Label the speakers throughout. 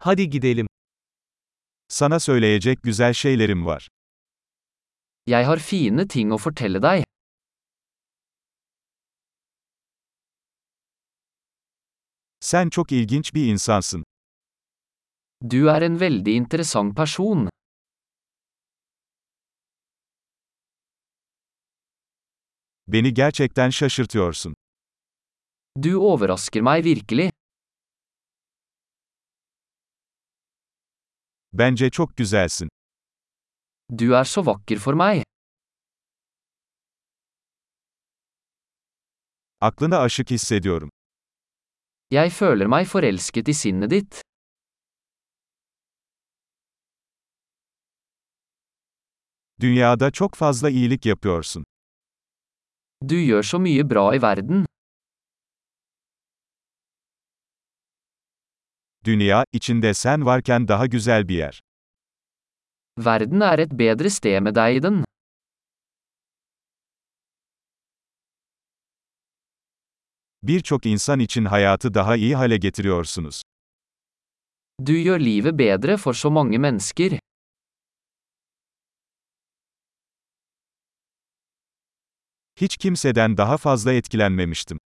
Speaker 1: Hadi gidelim.
Speaker 2: Sana söyleyecek güzel şeylerim var.
Speaker 3: Jeg har fine ting å fortelle deg.
Speaker 2: Sen çok ilginç bir insansın.
Speaker 3: Du er en veldig interessant person.
Speaker 2: Beni gerçekten şaşırtıyorsun.
Speaker 3: Du overrasker meg virkelig.
Speaker 2: Bence çok güzelsin.
Speaker 3: Du er så vakker for meg.
Speaker 2: Aklına aşık hissediyorum.
Speaker 3: Jeg føler meg forelsket i sinnet ditt.
Speaker 2: Dünyada çok fazla iyilik yapıyorsun.
Speaker 3: Du gjør så mye bra i verden.
Speaker 2: Dünya, içinde sen varken daha güzel bir yer.
Speaker 3: Verden er et bedre sted med deg i den.
Speaker 2: Birçok insan için hayatı daha iyi hale getiriyorsunuz.
Speaker 3: Du gjør livet bedre for så mange mennesker.
Speaker 2: Hiç kimseden daha fazla etkilenmemiştim.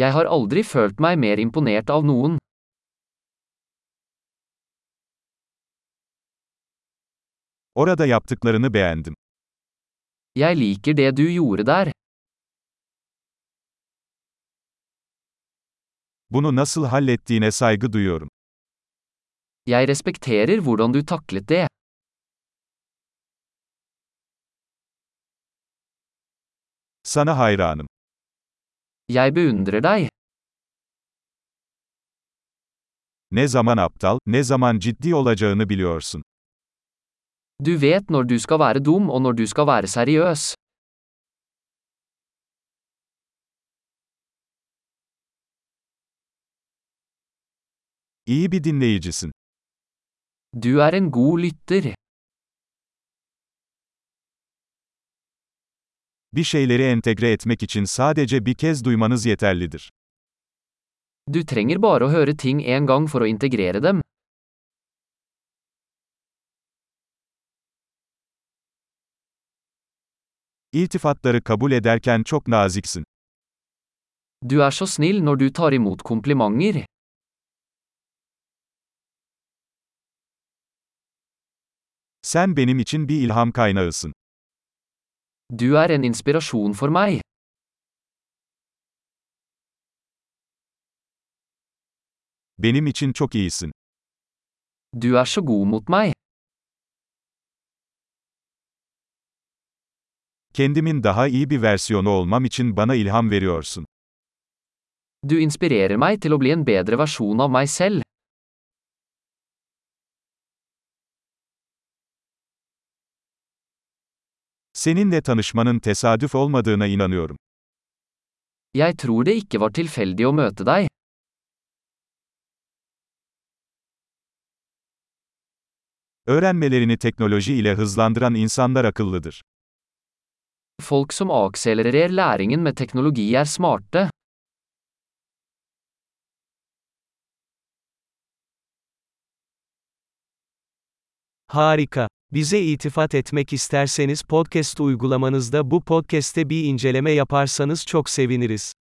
Speaker 3: Jeg har aldri følt meg mer imponert av noen.
Speaker 2: Orada yaptıklarını beğendim.
Speaker 3: Jeg liker det du gjorde der.
Speaker 2: Bunu nasıl hallettiğine saygı duyuyorum.
Speaker 3: Jeg respekterer hvordan du taklet det.
Speaker 2: Sana hayranım.
Speaker 3: Jeg beundrer deg.
Speaker 2: Ne zaman aptal, ne zaman ciddi olacağını biliyorsun.
Speaker 3: Du vet når du skal være dum og når du skal være seriøs.
Speaker 2: İyi bir dinleyicisin.
Speaker 3: Du er en god lytter.
Speaker 2: Bir şeyleri entegre etmek için sadece bir kez duymanız yeterlidir.
Speaker 3: Du trenger bare å høre ting en gang for å integrere dem.
Speaker 2: İltifatları kabul ederken çok naziksin.
Speaker 3: Du er så snill når du tar imot komplimenter.
Speaker 2: Sen benim için bir ilham kaynağısın.
Speaker 3: Du er en inspirasjon for meg.
Speaker 2: Benim için çok iyisin.
Speaker 3: Du er så god mot meg.
Speaker 2: Kendimin daha iyi bir versiyonu olmam için bana ilham veriyorsun.
Speaker 3: Du inspirerer meg til å bli en bedre versjon av meg selv.
Speaker 2: Seninle tanışmanın tesadüf olmadığına inanıyorum.
Speaker 3: Jeg tror det ikke var tilfeldig å møte deg.
Speaker 2: Öğrenmelerini teknoloji ile hızlandıran insanlar akıllıdır.
Speaker 3: Folk som akselererer læringen med teknologi er smarte.
Speaker 1: Harika. Bize itifat etmek isterseniz podcast uygulamanızda bu podcast'te bir inceleme yaparsanız çok seviniriz.